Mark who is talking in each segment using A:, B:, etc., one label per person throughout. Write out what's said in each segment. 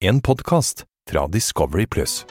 A: En podkast fra Discovery Pluss.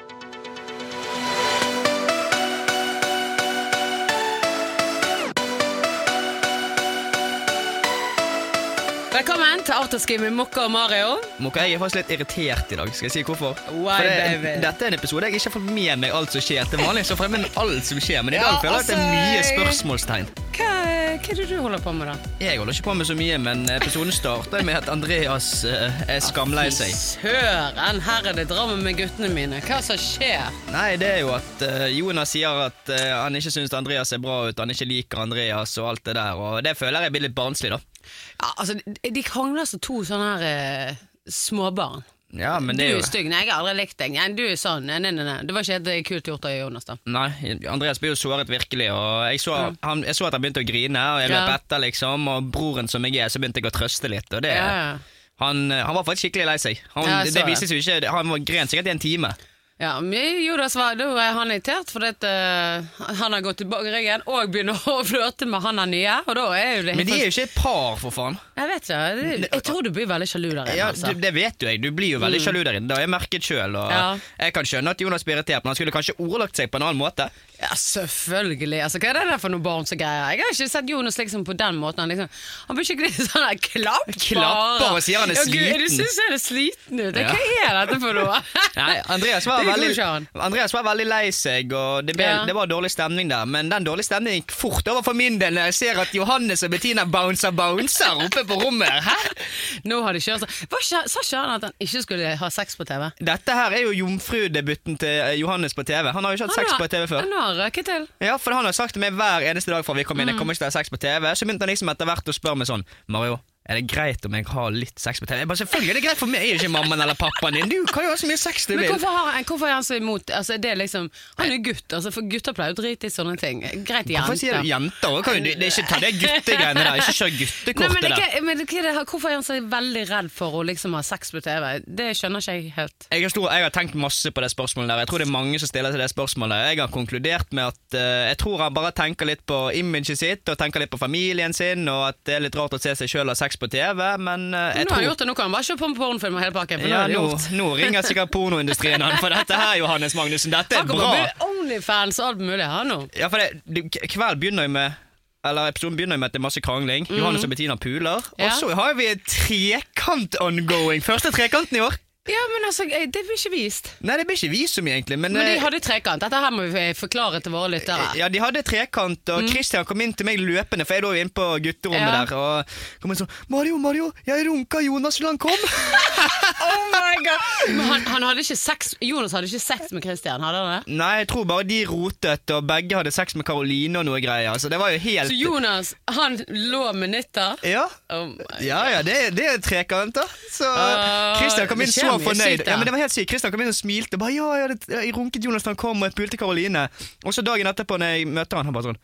B: Velkommen til Afterski med Mokka og Mario.
C: Mokka, jeg er faktisk litt irritert i dag. Skal jeg si hvorfor?
B: Why,
C: For det,
B: baby?
C: dette er en episode jeg ikke har fått med meg alt som skjer. Til vanlig så får jeg med meg alt som skjer, men i
B: Ja,
C: dag føler jeg at det er mye
B: altså, jeg-
C: spørsmålstegn.
B: Hva, hva er det du holder på med, da?
C: Jeg holder ikke på med så mye, men episoden starter med at Andreas eh,
B: Ah,
C: er skamlei seg.
B: Søren, her er det drama med guttene mine. Hva som skjer?
C: Nei, det er jo at eh, Jonas sier at eh, han ikke syns Andreas ser bra ut, han ikke liker Andreas og alt det der, og det føler jeg blir litt barnslig, da.
B: Ja, altså, de- De krangler som to sånne her eh, småbarn.
C: Ja, men
B: du
C: det er
B: er
C: jo
B: stygg. Nei, jeg har aldri likt deg. Nei, du er sånn. Nei, nei, nei, nei. Det var ikke helt eh, kult gjort av Jonas, da.
C: Nei, Andreas ble jo såret virkelig, og jeg så, han, jeg så at han begynte å grine, og jeg løp
B: Mm. Ja.
C: etter, liksom, og broren som jeg er, så begynte jeg å trøste litt, og det
B: Ja, ja.
C: Han, han var faktisk skikkelig lei seg. Han,
B: Ja, jeg så
C: det, det
B: det.
C: viste seg jo ikke, han var gren sikkert i en time.
B: Ja, men eh, Jonas var, da var han irritert fordi at eh, han har gått tilbake i ryggen og begynner å flørte med han her nye, og da er jo det
C: Men de er jo ikke et par, for faen.
B: Jeg vet ikke, det- jeg tror du blir veldig sjalu der inne,
C: Ja,
B: altså. Mm.
C: du, det vet jo jeg. Du blir jo veldig sjalu der inne. Det har jeg merket sjøl.
B: Ja.
C: Jeg kan skjønne at Jonas blir irritert, men han skulle kanskje ordlagt seg på en annen måte.
B: Ja, selvfølgelig. Altså, hva er det der for noen barn som greier? Jeg har ikke sett Jonas liksom på den måten. Han, liksom, han blir ikke litt sånn der klapper.
C: Klapper og sier han er
B: Ja, Gud,
C: sliten.
B: Du synes jeg er sliten ut.
C: Ja.
B: Hva er dette for noe?
C: Nei, Andreas var,
B: Det går
C: veldig,
B: ikke an.
C: Andreas var veldig lei seg, og det, ble,
B: Ja.
C: det var dårlig stemning der. Men den dårlige stemningen gikk fort over for min del når jeg ser at Johannes og Bettina bouncer bouncer oppe på rommet. her. Hæ?
B: Nå har de kjørt seg. Hva skje- Sa ikke han at han ikke skulle ha sex på TV?
C: Dette her er jo jomfrudebuten til eh, Johannes på TV. Han har jo ikke hatt
B: Ah,
C: sex på TV før.
B: Han har røket til.
C: Ja, for han har sagt til meg hver eneste dag fra vi kom
B: Mm.
C: inn. Jeg kommer ikke til å ha sex på TV. Så begynte han liksom etter hvert å spørre meg sånn Mario, er det greit om jeg har litt sex på TV? Jeg bare, Selvfølgelig er det greit for meg, jeg er jo ikke mammaen eller pappaen din. Du kan jo ha så mye sex du
B: Men
C: vil.
B: hvorfor, har, han- hvorfor er han så imot? Altså, det er liksom, han er jo gutt, altså, for gutter pleier jo å drite i sånne ting. Greit, jenter.
C: Hvorfor sier du jenter òg? Det er ikke ta det guttegreiene der. Ikke kjør
B: Nei, men
C: guttekortet
B: det, er
C: der.
B: ikke- men det, er ikke det- hvorfor er han så veldig redd for å liksom ha sex på TV? Det skjønner ikke jeg helt.
C: Jeg har, stor, jeg har tenkt masse på det spørsmålet der. Jeg tror det er mange som stiller seg det spørsmålet. Jeg har konkludert med at eh, jeg tror han bare tenker litt på imaget sitt og tenker litt på familien sin, og at det er litt rart å se seg sjøl ha sex på TV, men eh, jeg
B: nå har
C: tror
B: jeg gjort det, nå kan han bare se på pornofilm og hele pakken. For nå
C: Ja,
B: er det
C: nå,
B: gjort.
C: nå ringer sikkert pornoindustrien han for dette her, Johannes Magnussen. Dette er
B: Han kommer
C: bra.
B: til å bli Onlyfans og alt mulig her nå.
C: Ja, for det, det- kveld begynner jo med eller Episoden begynner jo med at det er masse krangling. Johannes og Bettina puler.
B: Mhm. Ja.
C: Og så har vi en trekant ongoing. Første trekanten i år.
B: Ja, men altså, eh, det blir ikke vist.
C: Nei, det blir ikke vi så mye, egentlig. Men,
B: Men de
C: eh,
B: hadde trekant. Dette her må vi eh, forklare til våre lyttere.
C: Ja, de hadde trekant, og Christian kom inn til meg løpende, for jeg lå jo inne på gutterommet
B: Mhm. Ja.
C: der. Og kom inn sånn 'Mario, Mario, jeg runka Jonas da han kom'.
B: Oh my god! Men han, han hadde ikke sex Jonas hadde ikke sex med Christian, hadde han det?
C: Nei, jeg tror bare de rotet, og begge hadde sex med Karoline og noe greier. Så det var jo helt
B: Så Jonas, han lå med nytter?
C: Ja.
B: Oh my.
C: Ja, ja, det, det er trekant, da. Så
B: Ah,
C: Christian kom
B: det
C: inn
B: skjer
C: så
B: mye
C: fornøyd.
B: sykt, da.
C: Ja, men det var helt sykt. Christian kom inn og smilte. Bare, ja, jeg, hadde, jeg runket Jonas da han kom, og jeg pulte Karoline. Og så dagen etterpå, når jeg møter han, han bare sånn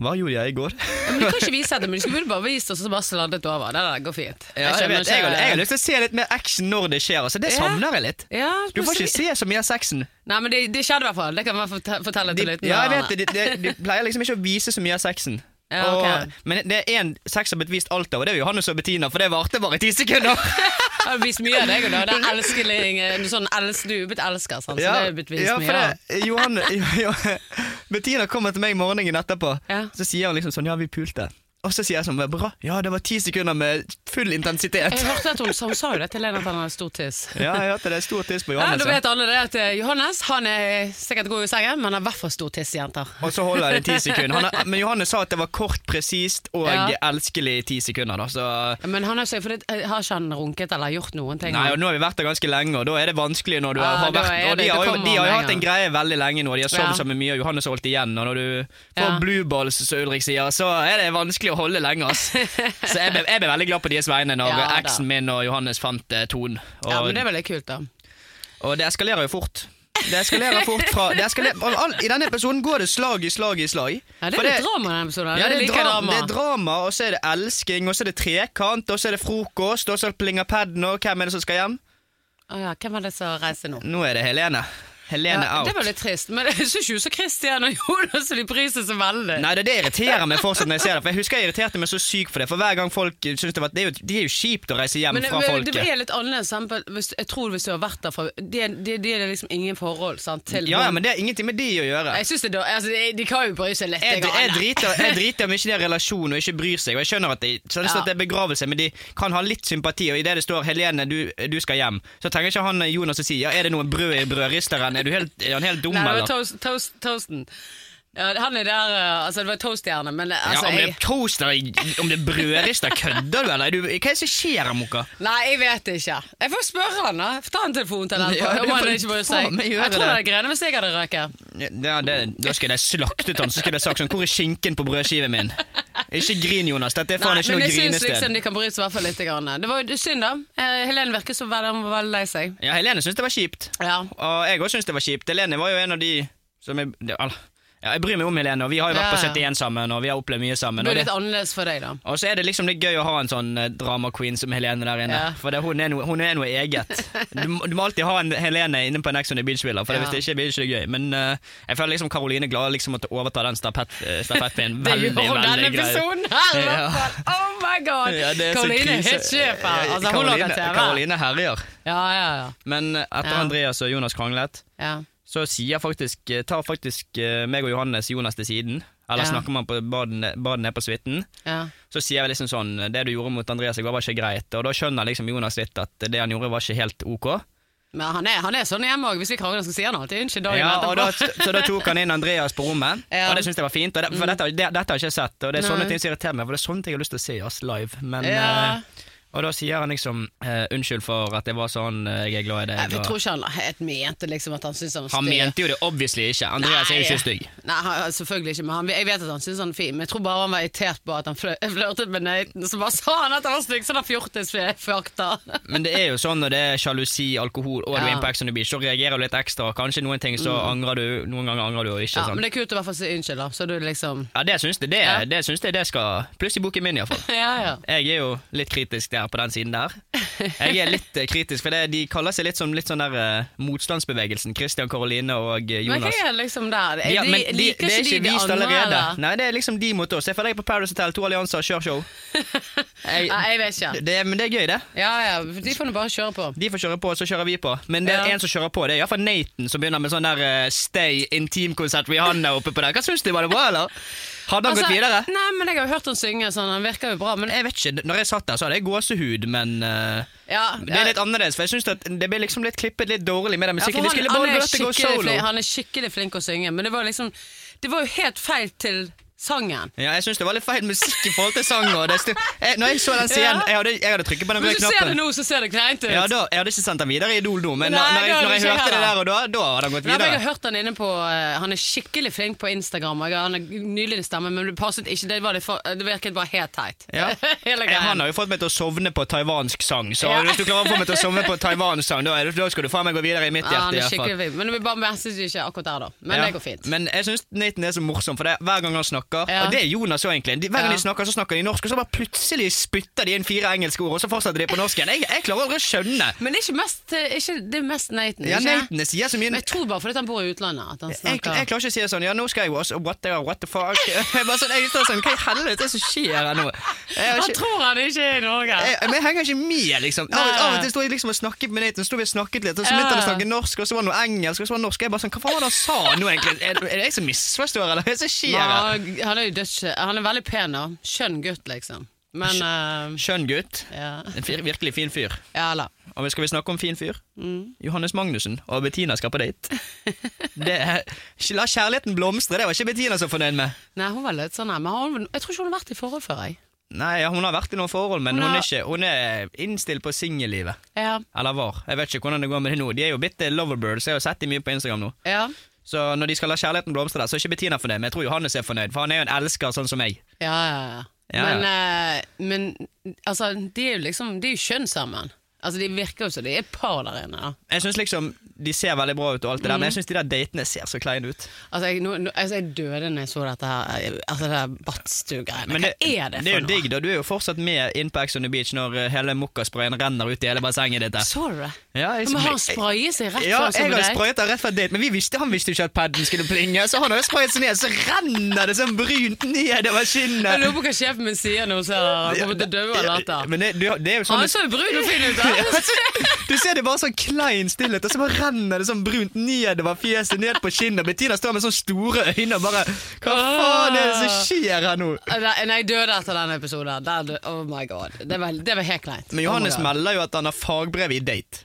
C: Hva gjorde jeg i går?
B: Men De kan ikke vise det, men de skulle bare vist oss og så bare sladdet over. Det der går fint.
C: Ja, jeg, vet, jeg, har- jeg har lyst til å se litt mer action når det skjer. Altså, det
B: Ja.
C: savner jeg litt.
B: ja,
C: Du får ikke se så mye av sexen.
B: Nei, men det, det skjedde i hvert fall. Det kan man forte- fortelle
C: De,
B: til lytterne.
C: ja, jeg vet det, de, de, de pleier liksom ikke å vise så mye av sexen.
B: Ja, ok.
C: og, men det er én sex som har blitt vist alt av, og det er jo Johannes og Bettina, for det varte bare i ti sekunder.
B: Jeg har vist mye av deg, og da. Det er elskelig, eh, sånn els, du er blitt elsker, sant? så Altså, det er jo blitt vist
C: ja,
B: mye
C: for
B: av.
C: det, eh, Johan, jo, jo, Bettina kommer til meg morgenen etterpå,
B: Ja.
C: så sier hun liksom sånn Ja, vi pulte. Og så sier jeg sånn «Var det Bra. Ja, det var ti sekunder med full intensitet.
B: Jeg hørte at hun, sa- hun sa jo det til Lena at han hadde stor tiss.
C: Ja, jeg hørte det. Stor tiss på
B: Ja,
C: Johannes.
B: da vet alle det at eh, Johannes han er sikkert god i sengen, men han har i hvert fall stor tiss, jenter.
C: Og så holder jeg det i ti sekunder. Han er, men Johannes sa at det var kort, presist og
B: Ja.
C: elskelig i ti sekunder, da, så
B: Men han har, ikke- for det, eh, har ikke han runket eller gjort noen ting?
C: Nei, og nå har vi vært der ganske lenge, og da er det vanskelig når du
B: Ja,
C: har
B: da
C: vært
B: er
C: Og
B: det-
C: de
B: det
C: har jo
B: kommer
C: de har jo
B: med en
C: hatt en
B: gang.
C: greie veldig lenge nå, de har
B: Ja.
C: sovet sammen mye, og Johannes har holdt igjen, og når du får
B: Ja.
C: blue balls, som Ulrik sier, så er det vanskelig å holde lenge, ass. Så jeg ble, jeg ble veldig glad på deres vegne når
B: Ja, da.
C: eksen min og Johannes fant eh, tonen. Og,
B: Ja, men det er veldig kult, da.
C: og det eskalerer jo fort. Det eskalerer fort fra det eskalerer, og all, I denne episoden går det slag i slag i slag.
B: Ja, det
C: For
B: er litt drama i denne episoden.
C: ja, det er,
B: Jeg liker
C: drama. det er drama, og så er det elsking, og så er det trekant, og så er det frokost, og så plinger paden, og hvem er det som skal hjem?
B: Å ja, hvem var det som reiste nå?
C: Nå er det Helene. Helene
B: Ja, det
C: out.
B: var litt trist, men jeg syns ikke så Christian og Jonas og de bryr seg så veldig.
C: Nei, det er det irriterer meg fortsatt når jeg ser det. For jeg husker jeg irriterte meg så sykt for det. For hver gang folk synes det var Det er jo, det er jo kjipt å reise hjem
B: men det,
C: fra
B: det
C: folket.
B: er litt annerledes. sant? Hvis, jeg tror hvis du har vært der fra Det, det, det er liksom ingen forhold sant, til
C: Ja, ja, men det er ingenting med de å gjøre.
B: Jeg synes det er dår- altså, de, de kan jo bry seg litt.
C: Jeg,
B: grann.
C: jeg, driter, jeg driter mye i det relasjonen og ikke bryr seg. Og jeg skjønner at det, så det, står
B: Ja.
C: at det er begravelse, men de kan ha litt sympati. Og idet det står 'Helene, du, du skal hjem', så trenger ikke han eh, Jonas å si 'ja, er det noe brød i brødristeren', er, du helt, er han helt dum,
B: Nei, det var
C: eller?
B: toast, toast, Toasten. Ja, han er der eh, Altså, det var Toast-hjerne, men eh,
C: Ja,
B: altså
C: om det
B: jeg,
C: er toaster, om det er brødrister, kødder du, eller? Er du, hva er det som skjer, Moka?
B: Nei, jeg vet ikke. Jeg får spørre han, da. Ta en telefon til han.
C: Ja,
B: om
C: du
B: han
C: får
B: ikke bryr
C: faen
B: seg.
C: meg gjøre
B: Jeg tror
C: det.
B: det er grønne hvis jeg hadde røket.
C: Ja, det, da skulle jeg slaktet han, så skulle jeg sagt sånn 'Hvor er skinken på brødskiven min?' Ikke grin, Jonas. Dette er faen
B: Nei,
C: ikke
B: men
C: noe
B: jeg syns
C: grinested.
B: liksom de kan bry seg i hvert fall litt. Grann. Det var jo synd, da. Eh, Helene virker så veldig, hun var veldig lei seg.
C: Ja, Helene syntes det var kjipt.
B: Ja.
C: Og jeg òg syns det var kjipt. Helene var jo en av de som jeg det- al- Ja, jeg bryr meg om Helene, og vi har jo vært på
B: Ja, ja.
C: 71 sammen, og vi har opplevd mye sammen.
B: Det
C: Og,
B: er
C: det,
B: litt annerledes for deg, da.
C: og så er det liksom litt gøy å ha en sånn eh, drama queen som Helene der inne.
B: Ja.
C: For det, hun, er noe, hun er noe eget. Du, må- du må alltid ha en Helene inne på en Ex on the Beach-spiller, for
B: Ja.
C: hvis det ikke blir det ikke gøy. Men eh, jeg føler liksom Karoline Glade liksom måtte overta den stafett, eh, stafettpinnen.
B: Det
C: Veldig,
B: gjør hun denne
C: veldig greit.
B: episoden her! i
C: Ja.
B: hvert fall. Oh my god!
C: Ja, det er så
B: Karoline
C: krise.
B: Hitschäfer.
C: Ja,
B: Altså, hun
C: Karoline-
B: lager TV.
C: Karoline herjer.
B: Ja, ja, ja.
C: Men etter
B: Ja.
C: Andreas og Jonas kranglet,
B: ja.
C: så sier faktisk, tar faktisk eh, meg og Johannes Jonas til siden. Eller
B: Ja.
C: snakker man på baden, baden ned på suiten.
B: ja.
C: Så sier jeg liksom sånn Det du gjorde mot Andreas i går, var ikke greit. Og da skjønner liksom Jonas litt at det han gjorde, var ikke helt ok.
B: Men han er, han er sånn hjemme òg. Hvis vi krangler, så sier han alltid unnskyld dagen
C: Ja, og da,
B: etterpå.
C: så da tok han inn Andreas på rommet,
B: Ja. Mm.
C: og det syns jeg var fint. Og det, for dette, det, dette har jeg ikke sett, og det er
B: Nei.
C: sånne ting som irriterer meg. For det er sånne ting jeg har lyst til å se i oss live. Men,
B: Ja.
C: eh, og da sier han liksom eh, 'unnskyld for at jeg var sånn, eh, jeg er glad i deg'.
B: Nei, Jeg
C: og-
B: tror ikke han helt mente liksom at han syntes han var
C: Han
B: stygg.
C: mente jo det obviously ikke. Andreas er jo ikke stygg.
B: Nei, han- selvfølgelig ikke, men han, jeg vet at han syntes han er fin. Men jeg tror bare han var irritert på at han flø- flørtet med Nathan, så bare sa han at han var stygg, så da fjortisfakta.
C: Men det er jo sånn når det er sjalusi, alkohol og du er
B: Ja. Mm.
C: inne på Ex on the Beach, så reagerer du litt ekstra. Kanskje noen ting så angrer du, noen ganger angrer du og ikke.
B: Ja,
C: sant?
B: men det er kult å i hvert fall si unnskyld, da. Så du liksom
C: Ja, det syns jeg det,
B: Ja.
C: det, syns jeg det skal Pluss i boken min, iallfall.
B: Ja, ja.
C: Jeg er jo litt kritisk der på den siden der. Jeg er litt eh, kritisk, for det, de kaller seg litt som litt sånn der eh, motstandsbevegelsen. Christian Karoline og eh,
B: Men hva
C: Jonas.
B: er liksom der? De,
C: Ja, men de-
B: liker
C: det er
B: ikke de de
C: vist
B: andre,
C: allerede.
B: eller?
C: Nei, det er liksom de mot oss. Jeg føler jeg er på Paradise Hotel, to allianser, kjør show. Jeg-
B: Nei, jeg vet ikke.
C: Det, men det er gøy, det.
B: Ja, ja, de får nå bare kjøre på.
C: De får kjøre på, så kjører vi på. Men det er
B: Ja.
C: en som kjører på. Det er iallfall Nathan som begynner med sånn der eh, Stay Intim-konsert Rihanna oppe på der. Hva syns du, var det bra, eller? Hadde han
B: Altså,
C: gått videre?
B: Nei, men jeg har jo hørt han synge sånn, han virker jo bra, men
C: Jeg vet ikke, når jeg satt der, så hadde jeg gåsehud, men eh,
B: ja,
C: det er litt annerledes. For jeg synes at det ble liksom litt klippet litt dårlig med den
B: Ja, for
C: musikken. De skulle bare
B: er
C: latt det gå
B: skikkelig
C: solo.
B: flink- han er skikkelig flink å synge, men det var liksom Det var jo helt feil til sangen.
C: Ja, jeg syns det var litt feil musikk i forhold til sangen. og det stu- jeg, når jeg så den scenen,
B: Ja.
C: jeg hadde, jeg hadde trykket på den
B: Hvis
C: røde
B: du ser det
C: knappen.
B: nå, så ser det kleint ut.
C: Ja, da, jeg hadde ikke sendt den videre i Idol nå, men
B: Nei,
C: når, når
B: det
C: jeg,
B: hadde
C: når jeg
B: ikke jeg
C: hørte det der
B: heller.
C: og da, da hadde han gått
B: Nei, men
C: videre.
B: jeg har hørt han inne på eh, Han er skikkelig flink på Instagram. og Jeg, han er nydelig stemme, men det passet ikke. Det, var litt for, det virket bare helt teit.
C: Ja.
B: Hele
C: Eh, Han
B: greia.
C: har jo fått meg til å sovne på taiwansk sang, så
B: Ja.
C: hvis du klarer å få meg til å sovne på taiwansk sang, da, er det- da skal du faen meg gå videre i mitt
B: Ja,
C: hjerte.
B: han
C: i
B: er
C: hvert fall.
B: skikkelig flink. Men vi bare messes jo ikke akkurat der, da. Men
C: Ja.
B: det går fint.
C: Men jeg syns Nathan er så morsom, for det, er- hver gang han snakker
B: Ja.
C: Og det er Jonas òg, egentlig. De- Hver gang
B: Ja.
C: de snakker, så snakker de norsk, og så bare plutselig spytter de inn fire engelske ord, og så fortsetter de på norsk igjen. Jeg, jeg klarer aldri å skjønne.
B: Men det er ikke mest, eh, ikke, det er mest Nathan.
C: Ja,
B: ikke?
C: Nathan jeg sier så mye
B: Men jeg tror bare fordi at han bor i utlandet. At han
C: jeg,
B: snakker
C: jeg klarer ikke å si sånn Ja, nå skal jeg også What the, what the fuck? Jeg bare sånn, jeg står sånn Hva i helvete er det som skjer her nå? Jeg har
B: Han
C: ikke,
B: tror han ikke er i Norge.
C: jeg, men jeg henger ikke med, liksom. Av,
B: Nei.
C: av og til står jeg liksom og snakker med Nathan, så sto vi og snakket litt, og så
B: Ja.
C: begynte han å snakke norsk, og så var det noe engelsk, og så var det norsk. Jeg bare sånn Hva faen var det han sa nå, egentlig? Er, er det jeg som misforstår, eller hva er det som skjer? her?
B: han, han er jo døds... Han er veldig pen og skjønn gutt, liksom. Men eh,
C: Skjønn gutt.
B: ja.
C: En fyr, virkelig fin fyr.
B: ja eller
C: Og vi skal vi snakke om fin fyr?
B: Mm.
C: Johannes Magnussen og Bettina skal på date. Det er, la kjærligheten blomstre, det var ikke Bettina så fornøyd med.
B: Nei, hun var litt sånn her, men hun, jeg tror ikke hun har vært i forhold før, jeg.
C: Nei, ja, Hun har vært i noen forhold, men
B: Hun
C: hun,
B: har-
C: er, ikke, hun er innstilt på singellivet.
B: Ja.
C: Eller var. Jeg vet ikke hvordan det går med det nå. De er jo bitte loverbirds. Jeg har sett dem mye på Instagram nå.
B: Ja.
C: Så når de skal la kjærligheten blomstre, der, så er ikke Bettina fornøyd, men jeg tror Johannes er fornøyd, for han er jo en elsker sånn som meg.
B: Ja, ja, ja.
C: Ja,
B: Men, eh, men altså, de er jo liksom De er jo kjønn sammen. Altså, De virker jo som de er et par der inne. da.
C: Jeg synes liksom de ser veldig bra ut, og alt det der,
B: Mm.
C: men jeg syns de der datene ser så kleine ut.
B: Altså, jeg, nå, nå, altså, jeg døde når jeg så dette her Altså, det der Badstue-greiene.
C: Men
B: Hva er det
C: det
B: for
C: er jo
B: noe?
C: digg, da. Du er jo fortsatt med inn på Ex on the Beach når eh, hele mokkasprayen renner ut i hele bassenget ditt. der.
B: Så du det?
C: Ja, jeg-
B: Men har han sprayet seg rett
C: Ja,
B: før
C: jeg har
B: sommerdate?
C: sprayet den rett fra date, men vi visste, han visste jo ikke at paden skulle plinge. Så han har jo sprayet seg ned, så renner det sånn brunt nedover
B: Jeg
C: skinnet.
B: lurer på hva sjefen min sier når hun ser han kommer til å dø av latter.
C: Men det, du, det er jo sånn
B: Han så jo brun og fin ut, da!
C: Ja, så- Du ser det bare sånn klein stillhet, og så bare renner det sånn brunt nedover fjeset, ned på kinnet. Bettina står med sånne store øyne og bare Hva
B: Ah."
C: faen er det som skjer her nå?
B: Nei, nei, jeg døde etter den episoden. Der dø- oh my god. Det var, det var helt kleint.
C: Men Johannes
B: oh my god.
C: melder jo at han har fagbrev i date.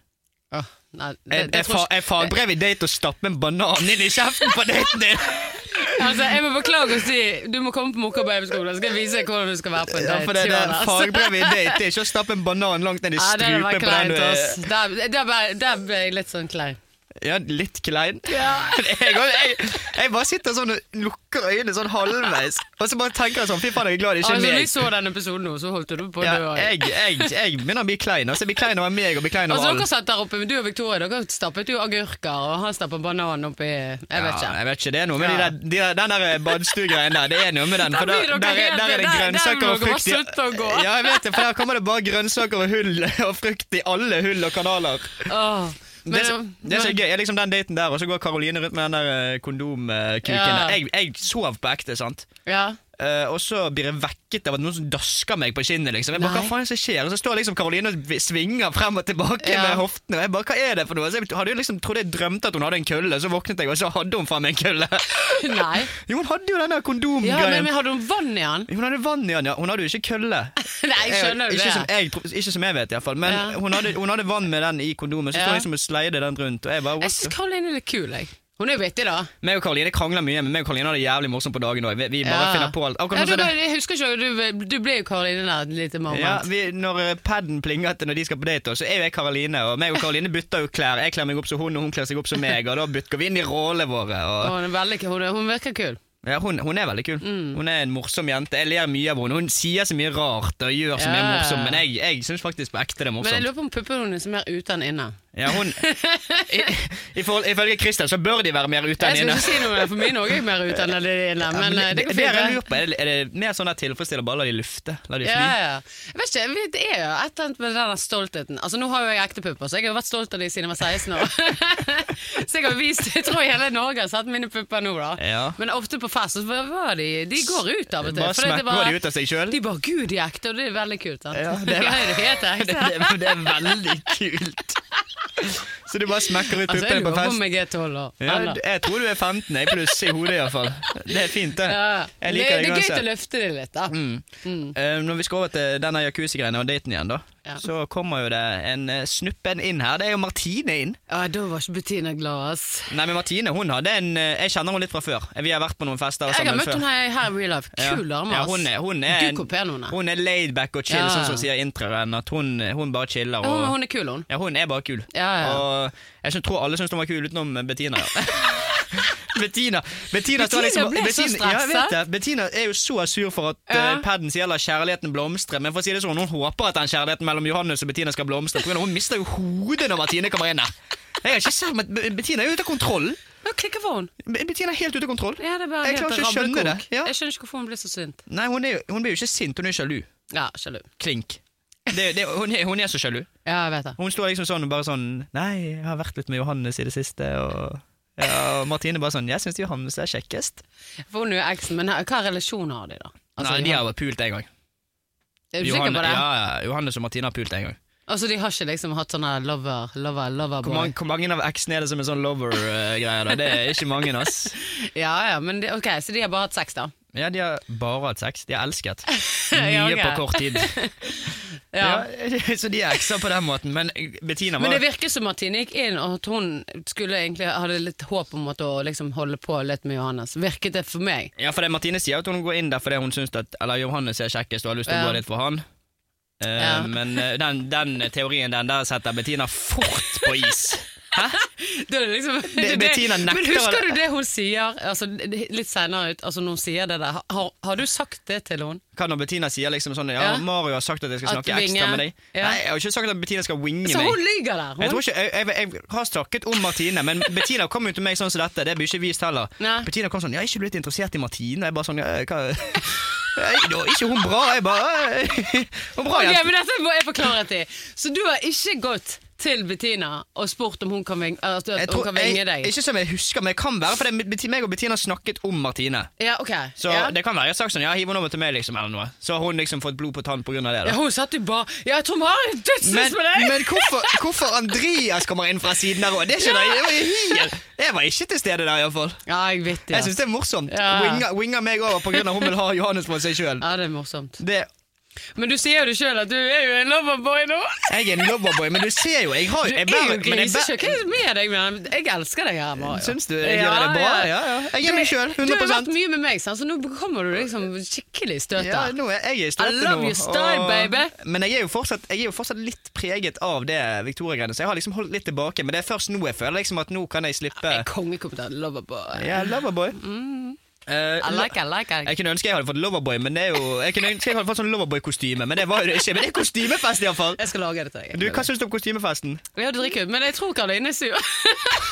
B: Åh, nei, det, det,
C: Er, er,
B: tror
C: fa,
B: jeg
C: er fagbrev i date å stappe en banan inn i kjeften på daten din?
B: ikke- altså, jeg må beklage å si du må komme på Mokka babyskole, så skal jeg vise deg hvordan du skal være på en
C: Ja,
B: date.
C: for det, det,
B: Jonas.
C: fagbrev i date det er ikke å stappe en banan langt ned i
B: altså. Ja, det
C: strupen
B: var
C: på den eh,
B: kleint,
C: du
B: ass.
C: er.
B: Der, der, ble, der ble jeg litt sånn klein.
C: Ja, litt klein. Jeg, jeg, jeg bare sitter sånn og lukker øynene sånn halvveis, og så bare tenker jeg sånn Fy faen, jeg er glad det ikke
B: Altså,
C: er
B: når
C: meg.
B: jeg så den episoden nå, så holdt du på å
C: Ja,
B: dø. også.
C: jeg, jeg, jeg begynner å bli klein. Altså, jeg blir klein over meg og blir klein over
B: Altså, dere
C: alle.
B: satt der oppe, men du og Victoria dere stappet jo agurker, og han stappet banan oppi Jeg vet ikke.
C: Ja, jeg vet ikke, det er noe med de
B: Ja.
C: der, de der, den der eh, badstuegreien der. Det er noe med den.
B: Der
C: For der,
B: blir dere
C: der, er-
B: helt-
C: der er det
B: der- der
C: grønnsaker
B: må
C: og
B: dere bare
C: frukt i
B: slutte å gå.
C: Ja, jeg vet det, for der kommer det bare grønnsaker og hull og frukt i alle hull og kanaler.
B: Åh,
C: Det er, så,
B: men-
C: det er så
B: men-
C: gøy. er liksom den daten der, og så går Karoline rundt med den der eh, kondomkuken.
B: Ja.
C: der. Jeg, jeg sov på ekte, sant.
B: Ja.
C: Eh, og så blir jeg vekket av at noen som dasker meg på kinnet. liksom Jeg bare,
B: Nei.
C: hva faen er det som skjer? Og så står liksom Karoline og vi- svinger frem og tilbake
B: Ja.
C: med hoftene. Og jeg bare, hva er det for noe? Så jeg hadde jo liksom, trodde jeg drømte at hun hadde en kølle, så våknet jeg, og så hadde hun faen meg en kølle.
B: Nei.
C: Jo, hun hadde jo
B: Ja,
C: den der
B: men,
C: kondomgreien.
B: men hadde hun vann i den?
C: Hun hadde vann i den, ja. Hun hadde jo ikke kølle. Eh,
B: Nei, jeg skjønner jo
C: ikke, Som
B: det.
C: jeg, tro- ikke som jeg vet, iallfall. Men
B: Ja.
C: hun, hadde, hun hadde vann med den i kondomet, så
B: Ja.
C: sto jeg liksom og sleide den rundt. Og jeg bare,
B: Jeg
C: what the
B: syns Karoline er litt kul, jeg. Hun er jo vittig, da.
C: Meg og Karoline krangler mye, men meg og Karoline har det jævlig morsomt på dagen òg. Vi, vi bare
B: Ja.
C: finner på alt. Akkurat
B: Ja,
C: sånn
B: du,
C: som det-
B: ble- jeg husker ikke, du, du ble jo Karoline der et lite moment.
C: Ja, vi, når eh, padden plinger til når de skal på date, også, så er jo jeg Karoline. Og meg og Karoline bytter jo klær. Jeg kler meg opp som hun, og hun kler seg opp som meg. Og da bytter vi inn i rollene våre.
B: Og
C: Og,
B: Hun, er veldig, hun, er- hun virker kul.
C: ja, hun, hun er veldig kul.
B: Mm.
C: Hun er en morsom jente. Jeg ler mye av henne. Hun sier så mye rart og gjør så mye
B: Ja.
C: morsomt, men jeg, jeg syns faktisk på ekte det er
B: Men jeg
C: morsomt.
B: lurer på om puppene hennes er mer ute enn inne.
C: Ja, hun, i, i forhold, ifølge Christian så bør de være mer ute
B: Jeg
C: enn
B: skal
C: inne.
B: ikke si noe, om det, for mine òg er mer ute enn de er inne.
C: Ja,
B: Men eh, det
C: det,
B: går
C: det
B: fint.
C: jeg
B: det.
C: lurer på, er det, er det mer sånn at tilfredsstiller bare la de lufte? La de fly?
B: Ja, ja. Jeg vet ikke, jeg- det er jo et eller annet med den der stoltheten. Altså Nå har jo jeg ekte pupper, så jeg har jo vært stolt av dem siden jeg var 16 år. så jeg har vist Jeg tror hele Norge har sett mine pupper nå, da.
C: Ja.
B: Men ofte på fest så var de De går ut av og til.
C: Bare
B: fordi det
C: smekker de ut av seg sjøl?
B: De bare 'Gud, de er ekte', og det er veldig kult. Sant?
C: Ja, det er-
B: Ja, det heter
C: Det,
B: ekte.
C: det, det er veldig kult. Så du bare smekker ut
B: Altså, jeg
C: puppene på
B: lurer på om
C: fest?
B: jeg er 12 år.
C: Ja,
B: Eller-
C: jeg tror du er 15 jeg pluss i hodet, iallfall. Det er fint, det.
B: Ja.
C: Jeg
B: det,
C: liker
B: det er
C: det
B: gøy å
C: uansett.
B: løfte det litt, da.
C: Eh, Når vi skal over til denne jacuzzi-greiene og daten igjen, da,
B: Ja.
C: så kommer jo det en eh, snuppen inn her. Det er jo Martine inn.
B: Ja, da var ikke Bettina glad, ass.
C: Nei, men Martine hun hadde en eh, Jeg kjenner henne litt fra før. Vi har vært på noen fester
B: Jeg har
C: sammen
B: møtt
C: før.
B: henne her her i real life. Kul
C: ja.
B: dame,
C: ja,
B: ass.
C: hun er, hun er,
B: Gud, hvor pen hun er.
C: Hun er laidback og chill,
B: Ja.
C: sånn som sier introen. At hun, hun bare chiller.
B: Ja,
C: Og,
B: hun, hun er kul, hun.
C: Ja, hun er bare kul.
B: Ja, ja.
C: Og jeg syns- tror alle syns hun var kul utenom Bettina. Ja. Bettina Bettina, står
B: Bettina
C: liksom,
B: ble så
C: Bettina, ja, jeg vet
B: stresset.
C: det. Bettina er jo så sur for at
B: Ja.
C: ja. paden sier la kjærligheten blomstre. Men for å si det sånn, hun håper at den kjærligheten mellom Johannes og Bettina skal blomstre. For hun mister jo hodet når Martine kommer inn der. Jeg har ikke sett, men Be- Bettina er jo ute av kontroll.
B: Hva klikker for hun?
C: Be- Bettina er helt ute av kontroll.
B: Ja, det er bare
C: jeg
B: helt
C: klarer ikke å skjønne det.
B: rablekok.
C: Ja.
B: Jeg skjønner ikke hvorfor hun blir så sint.
C: Nei, hun, er, jo- hun blir jo ikke sint, hun er sjalu.
B: Ja, sjalu.
C: Klink. Det, det, hun, er, hun er så sjalu.
B: Ja, jeg vet det.
C: Hun står liksom sånn og bare sånn Nei, jeg har vært litt med Johannes i det siste, og ja, og Martine bare sånn Jeg syns Johannes er kjekkest.
B: For hun er jo eksen, men hva relasjon har de, da? Altså,
C: Nei, de har pult en gang.
B: Er du sikker på det?
C: ja, ja, Johannes og Martine har pult en gang.
B: Altså, de har ikke liksom hatt sånne lover, lover, lover
C: Hvor
B: boy?
C: mange, hvor mange av eksene er det som er sånn lover-greier? da? Det er ikke mange, ass.
B: Ja, ja, men det, ok, så de har bare hatt sex, da.
C: Ja, de har bare hatt sex. De har elsket.
B: Ja,
C: Mye
B: ok.
C: på kort tid.
B: Ja.
C: Ja, så de er ekser på den måten. Men Bettina
B: Men
C: var
B: det virker som Martine gikk inn, og at hun skulle egentlig hadde litt håp om at å liksom holde på litt med Johannes. Virket det for meg?
C: Ja, for det Martine sier at hun går inn der fordi hun syns at Eller Johannes er kjekkest og har lyst til
B: Ja.
C: å gå litt for han. Eh,
B: Ja.
C: Men eh, den, den teorien den der setter Bettina fort på is.
B: Da er det liksom,
C: Det- Bettina nekter
B: Men husker
C: å-
B: du det hun sier altså, det- litt senere ut? Altså, når hun sier det der, har, har du sagt det til henne?
C: Hva når Bettina sier liksom sånn Ja,
B: Ja.
C: Mario har sagt at jeg skal
B: At
C: snakke ekstra
B: vinge.
C: med deg.
B: Ja.
C: Nei, jeg har ikke sagt at Bettina skal winge
B: Så
C: meg.
B: hun lyver der!
C: Jeg,
B: Hun.
C: tror ikke, jeg, jeg, jeg har snakket om Martine, men Bettina kom jo til meg sånn som dette. Det blir ikke vist heller.
B: Nei.
C: Bettina kom sånn 'Jeg er ikke blitt interessert i Martine.' Jeg bare sånn ja, hva? Nei, da er ikke hun bra? Jeg bare «Ei, Hun er bra,
B: Ok,
C: jente.
B: men dette må jeg få klarhet i. Så du har ikke gått til Bettina og spurt om hun kan vinge, at
C: Jeg
B: hun
C: tror,
B: kan vinge
C: jeg,
B: deg?
C: ikke som jeg husker, men det kan være, for det, er Bettina- meg og Bettina har snakket om Martine.
B: Ja, ok.
C: Så
B: ja.
C: det kan være jeg har sagt sånn 'Ja, hiv henne over til meg', liksom, eller noe. Så har hun liksom fått blod på tann på grunn av det.
B: ja,
C: da
B: hun satt jo bare Ja, jeg tror vi har en
C: Men,
B: dødssyns med deg!
C: men hvorfor, hvorfor Andreas kommer inn fra siden der òg? Det skjønner jeg. Jeg var, helt, jeg var ikke til stede der, iallfall.
B: ja, jeg vet det.
C: Jeg syns det er morsomt.
B: Ja.
C: Winger, winger meg over på grunn av hun vil ha Johannes på seg sjøl.
B: Ja, det er morsomt.
C: Jeg
B: Men du sier jo det sjøl at du er jo en loverboy nå.
C: er en loverboy, men du ser jo Jeg har
B: Du er
C: bærer-
B: jo
C: men jeg bærer-
B: grisekjøkk. Hva er det med deg? Men jeg elsker deg her, Mario.
C: Syns du jeg gjør det bra? Ja, ja. Jeg er meg sjøl.
B: Du har vært
C: 100
B: mye med meg, sant? så nå kommer du liksom skikkelig i støtet.
C: ja, nå er jeg i støtet
B: I love
C: nå,
B: your style,
C: og-
B: baby.
C: Men jeg er, jo fortsatt, jeg er jo fortsatt litt preget av det Victoria-greiene, så jeg har liksom holdt litt tilbake. Men det er først nå jeg føler liksom at nå kan jeg
B: Jeg
C: slippe.
B: er kongekompetent loverboy.
C: Ja, loverboy. Eh,
B: I like, I like, I like.
C: Jeg kunne ønske jeg hadde fått Loverboy, men det er jo Jeg kunne ønske jeg hadde fått sånn Loverboy-kostyme, men det var jo det ikke. Men det er kostymefest, iallfall.
B: Jeg skal lage det til deg.
C: Du, hva syns du om kostymefesten?
B: Ja, du drikker, men jeg tror Karoline er sur.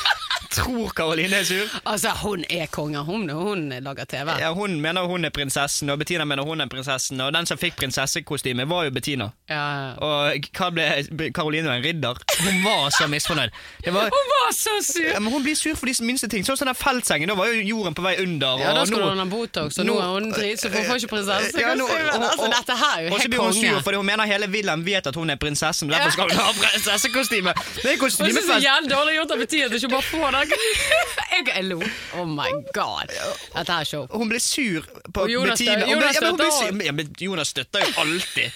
C: Tror Karoline er sur?
B: altså, hun er konge, hun, hun lager TV. Ja.
C: Ja, hun mener hun er prinsessen, og Bettina mener hun er prinsessen, og den som fikk prinsessekostyme, var jo Bettina. Og hva ble Karoline en ridder? Hun var så misfornøyd. Det var
B: Hun var så
C: ja,
B: sur!
C: men Hun blir sur for de minste ting. Sånn som den feltsengen. Da var jo jorden på vei under.
B: Ja, da
C: og
B: skulle
C: nå-
B: hun ha Botox, og nå
C: nå-
B: er hun drit, så hun får ikke prinsesse.
C: Ja, nå- og-
B: altså,
C: og-
B: dette her er jo
C: Og så
B: helt
C: blir hun sur
B: konge.
C: fordi hun mener hele Wilhelm vet at hun er prinsessen. Derfor skal hun ha prinsessekostyme. Det er
B: Og jeg synes det er
C: kostymefest.
B: jævlig dårlig gjort av Bettina til ikke bare få den. Jeg, jeg lo. Oh my god. Dette her er show.
C: Hun blir sur på
B: Og Jonas
C: Bettina.
B: stø-
C: Hun blir-
B: Jonas
C: ja, men hun blir
B: støtter
C: sur- Ja, men Jonas støtter jo alltid.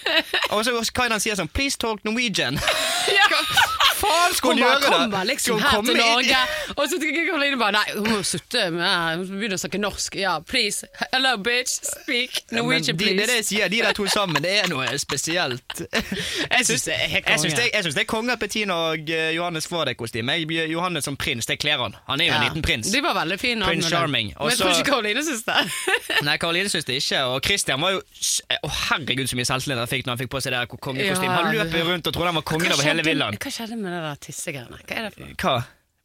C: Og så hva er det han sier sånn Please talk Norwegian.
B: Ja.
C: Faen, skal hun
B: Hun bare
C: gjøre det?
B: kommer liksom
C: Skal hun
B: her
C: komme
B: til
C: inn-
B: Norge, og så tenker jeg Karoline bare Nei, hun må slutte med Hun begynner å snakke norsk. Ja, please. Hello, bitch. Speak
C: Ja, men
B: Norwegian,
C: de, det er det
B: please.
C: jeg sier, de der to sammen, det er noe spesielt.
B: Jeg syns det er helt
C: Jeg syns
B: konge.
C: det, jeg syns det er konge at Bettina og eh, Johannes får det kostymet. Jeg- Johannes som prins, det kler han. Han er jo en liten prins.
B: De var veldig fine.
C: Prince
B: alle.
C: Charming.
B: Men jeg
C: Også-
B: tror ikke Karoline syns det.
C: Nei, Karoline syns det ikke. Og Christian var jo Å, herregud, så mye selvtillit han fikk når han fikk på seg det der kongekostymet. Han
B: Ja.
C: løp jo rundt og trodde han var kongen over hele villaen.
B: Hva skjedde med det der tissegreiene? Hva er det for noe?
C: Hva?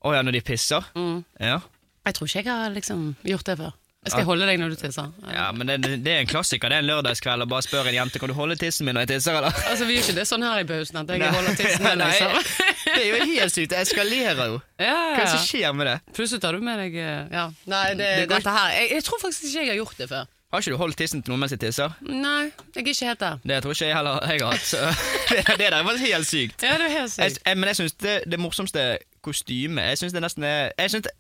C: Å ja, når de pisser?
B: Mm.
C: Ja.
B: Jeg tror ikke jeg har liksom gjort det før. Jeg skal holde deg når du tisser.
C: ja, men det, det er en klassiker. Det er en lørdagskveld og bare spør en jente Kan du holde tissen min når jeg tisser, eller?
B: Altså, Vi gjør ikke det sånn her i pausen at jeg
C: Nei.
B: holder tissen med liksom. deg.
C: Nei,
B: så.
C: Det er jo helt sykt. Det eskalerer jo.
B: Ja,
C: Hva
B: ja,
C: er det som
B: ja.
C: skjer med det?
B: Plutselig tar du med deg eh, Ja. Nei, det,
C: Det går
B: dette her jeg, jeg tror faktisk ikke jeg har gjort det før.
C: Har ikke du holdt tissen til noen mens de tisser?
B: Nei, jeg er ikke helt der.
C: Det tror ikke jeg heller jeg har hatt. Så det, det der var helt sykt.
B: Ja, det er helt
C: Jeg,
B: sykt.
C: jeg, men jeg syns det, det morsomste kostymet Jeg synes det nesten er jeg, synes det,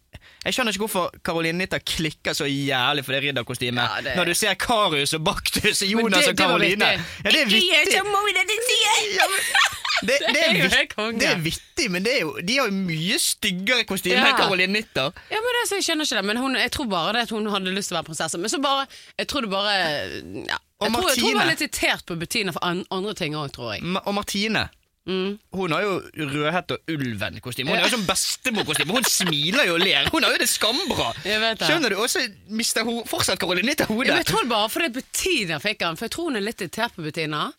C: jeg skjønner ikke hvorfor Karoline Nitta klikker så jævlig for det ridderkostymet.
B: Ja, det-
C: Når du ser Karius og Baktus og
B: Men
C: Jonas
B: det-
C: og
B: det var
C: Karoline.
B: vittig.
C: Ja, det er vittig. Ja, men- det, det,
B: Det er
C: er
B: jo helt
C: vittig,
B: konge.
C: det er vittig, men det er jo, de har jo mye styggere kostyme
B: Ja.
C: enn Karoline Nitta.
B: Ja, men det, så jeg skjønner ikke det, men hun, jeg tror bare det at hun hadde lyst til å være prinsesse. Men så bare Jeg tror det bare ja.
C: Og
B: jeg, tror, jeg tror
C: Martine. Mm.
B: hun var litt irritert på Bettina for an, andre ting òg, tror jeg.
C: Ma og Martine. Hun har jo Rødhette og Ulven-kostyme. Hun har jo sånn bestemorkostyme. Hun smiler jo og ler. Hun har jo det skambra.
B: Jeg vet det.
C: Skjønner du? Og så mister hun fortsatt Karoline Nitta
B: Ja,
C: hodet.
B: men jeg tror det bare fordi Bettina fikk den, for jeg tror hun er litt irritert på Bettina.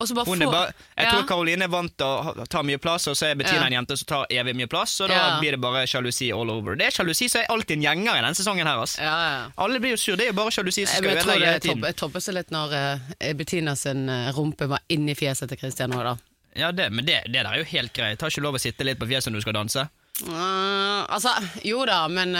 B: Og så bare
C: Hun er
B: får-
C: bare, jeg
B: ja.
C: tror Karoline er vant til å ha- ta mye plass, og så er Bettina
B: Ja.
C: en jente som tar evig mye plass, og da
B: Ja.
C: blir det bare sjalusi all over. Det er sjalusi som er alltid en gjenger i denne sesongen her, ass.
B: ja, ja.
C: Alle blir jo sur, det er jo bare
B: Jeg,
C: sjalusi som skal
B: jeg tror
C: ødelegge
B: det
C: hele tiden.
B: topp- toppet seg litt når eh, Bettina sin eh, rumpe var inni fjeset til Christian nå, da.
C: Ja, det, men det, det der er jo helt greit. Har ikke lov å sitte litt på fjeset når du skal danse.
B: Eh, altså, jo da, men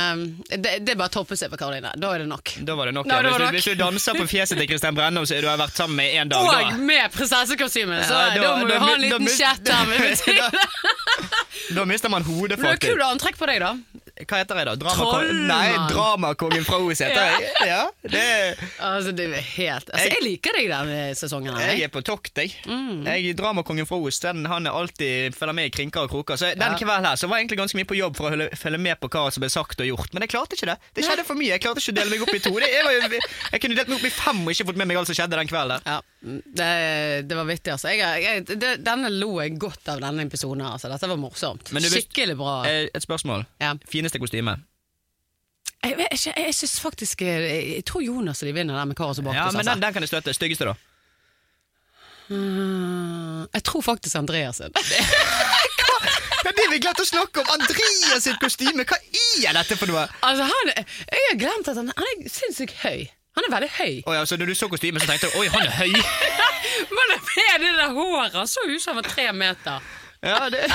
B: eh, det, det bare topper seg for Karoline. Da er det nok.
C: Da var det nok.
B: Da
C: ja.
B: var det
C: hvis,
B: nok.
C: du, hvis du danser på fjeset til Kristian Brennum, så har du har vært sammen med en dag, da.
B: Og med prinsessekostyme! Så
C: Ja,
B: da,
C: da-
B: må
C: da
B: du ha
C: mi-
B: en
C: da
B: liten
C: mis-
B: chat der med Bettina.
C: Da mister man hodet,
B: Men det er
C: faktisk.
B: kult antrekk på deg, da.
C: Hva heter jeg da?
B: Trollmann.
C: Dramakongen? Nei, Dramakongen fra Os heter jeg. Ja, det
B: Altså, du er helt Altså, jeg liker deg den sesongen. her,
C: Jeg
B: Jeg.
C: er på tokt, jeg.
B: Mm.
C: jeg Dramakongen fra Os den, han er alltid følger med i krinker og kroker. Så den
B: Ja.
C: kvelden her så var jeg egentlig ganske mye på jobb for å følge- følge med på hva som ble sagt og gjort, men jeg klarte ikke det. Det skjedde for mye. Jeg klarte ikke å dele meg opp i to. Det, jeg, var, jo- jeg kunne delt meg opp i fem og ikke fått med meg alt som skjedde den kvelden.
B: Ja, det, det var vittig, altså. Jeg, jeg, det, denne lo jeg godt av, denne episoden. her, Altså. Dette var morsomt.
C: Men du visste-
B: Skikkelig bra.
C: Eh, Et spørsmål.
B: Ja.
C: Fineste kostyme?
B: Jeg, vet ikke, jeg syns faktisk eh, Jeg tror Jonas og de vinner den med Karas og Baktus.
C: Ja, men
B: altså.
C: den, den kan jeg støtte. Styggeste, da?
B: Mm, Jeg tror faktisk Andreas sin.
C: Ja, det vi glemte å snakke om! Andreas sitt kostyme! Hva er dette for noe?
B: Altså, han, jeg har glemt at han, han er sinnssykt høy. Han er veldig høy.
C: Oh, ja, så når du så kostymet, så tenkte du oi, han er høy.
B: Men med det der håret han så ut som han var tre meter.
C: Ja, det...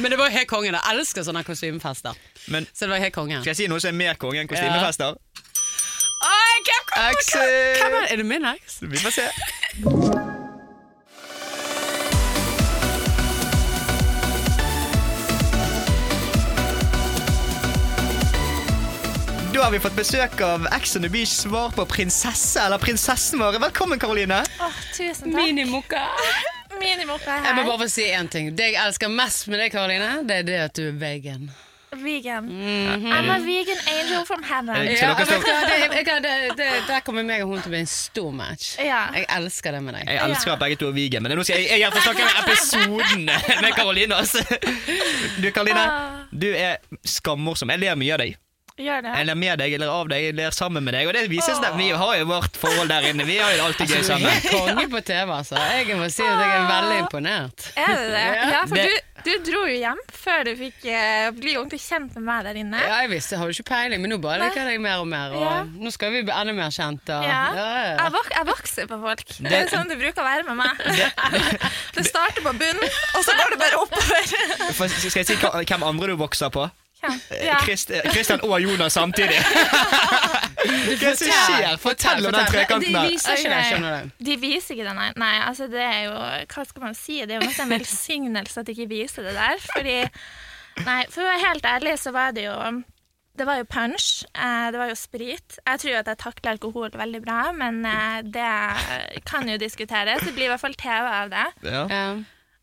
B: Men det var jo helt kongen. Jeg elsker sånne kostymefester.
C: Men
B: Så det var helt kongen.
C: skal jeg si noe som er mer konge enn kostymefester?
B: Oi, hvem kommer?
C: Axel!
B: Hvem er, er det min eks?
C: Vi får se. Da har vi fått besøk av Ex on the Beach svar på prinsesse eller prinsessen vår. Velkommen, Karoline.
D: Åh, tusen takk.
B: Minimokka.
D: Minimoppa er
B: Jeg må
D: her.
B: bare få si én ting. Det jeg elsker mest med deg, Karoline, det er det at du er vegan.
D: Vegan. I'm a vegan angel from heaven.
C: Eh, Så dere står-
B: vet du hva, det, jeg, det, det, der kommer meg og hun til å bli en stor match.
D: Ja.
B: Jeg elsker det med deg.
C: Jeg elsker at begge to er vegan, men nå skal jeg, jeg gjerne få snakke om episoden med Karoline. Altså. Du, Karoline,
D: Ah.
C: du er skammorsom. Jeg ler mye av deg.
D: Gjør det.
C: Jeg ler med deg, jeg ler av deg, jeg ler sammen med deg. Og det viser seg at vi har jo vårt forhold der inne. Vi har jo alltid
B: Du er
C: gøy sammen.
B: helt konge på TV, altså. Jeg må si at jeg er veldig imponert.
D: Er det det? Ja, for
C: Det-
D: du, du dro jo hjem før du fikk eh, bli ordentlig kjent med meg der inne.
B: Ja, jeg visste, jeg hadde ikke peiling, men nå bare liker jeg deg mer og mer. Og
D: Ja.
B: Nå skal vi bli enda mer kjent. Og, ja,
D: Ja.
B: ja, ja.
D: Jeg, vok jeg vokser på folk. Det er sånn det bruker å være med meg. Det starter på bunnen, og så går det bare oppover.
C: For, skal jeg si hva- hvem andre du vokser på? Eh,
D: Ja.
C: Krist, Kristian og Jonas samtidig. Hva som skjer? Fortell om den trekanten
B: De
C: der.
B: viser ikke det, skjønner du.
D: De viser ikke det, nei. nei altså det er jo, hva skal man si? Det er jo nesten en velsignelse at de ikke viser det der. Fordi, nei, for å være helt ærlig, så var det jo Det var jo punch, eh, det var jo sprit. Jeg tror jo at jeg takler alkohol veldig bra, men eh, det kan jo diskuteres. Det blir i hvert fall TV av det.
C: Ja.
B: Ja.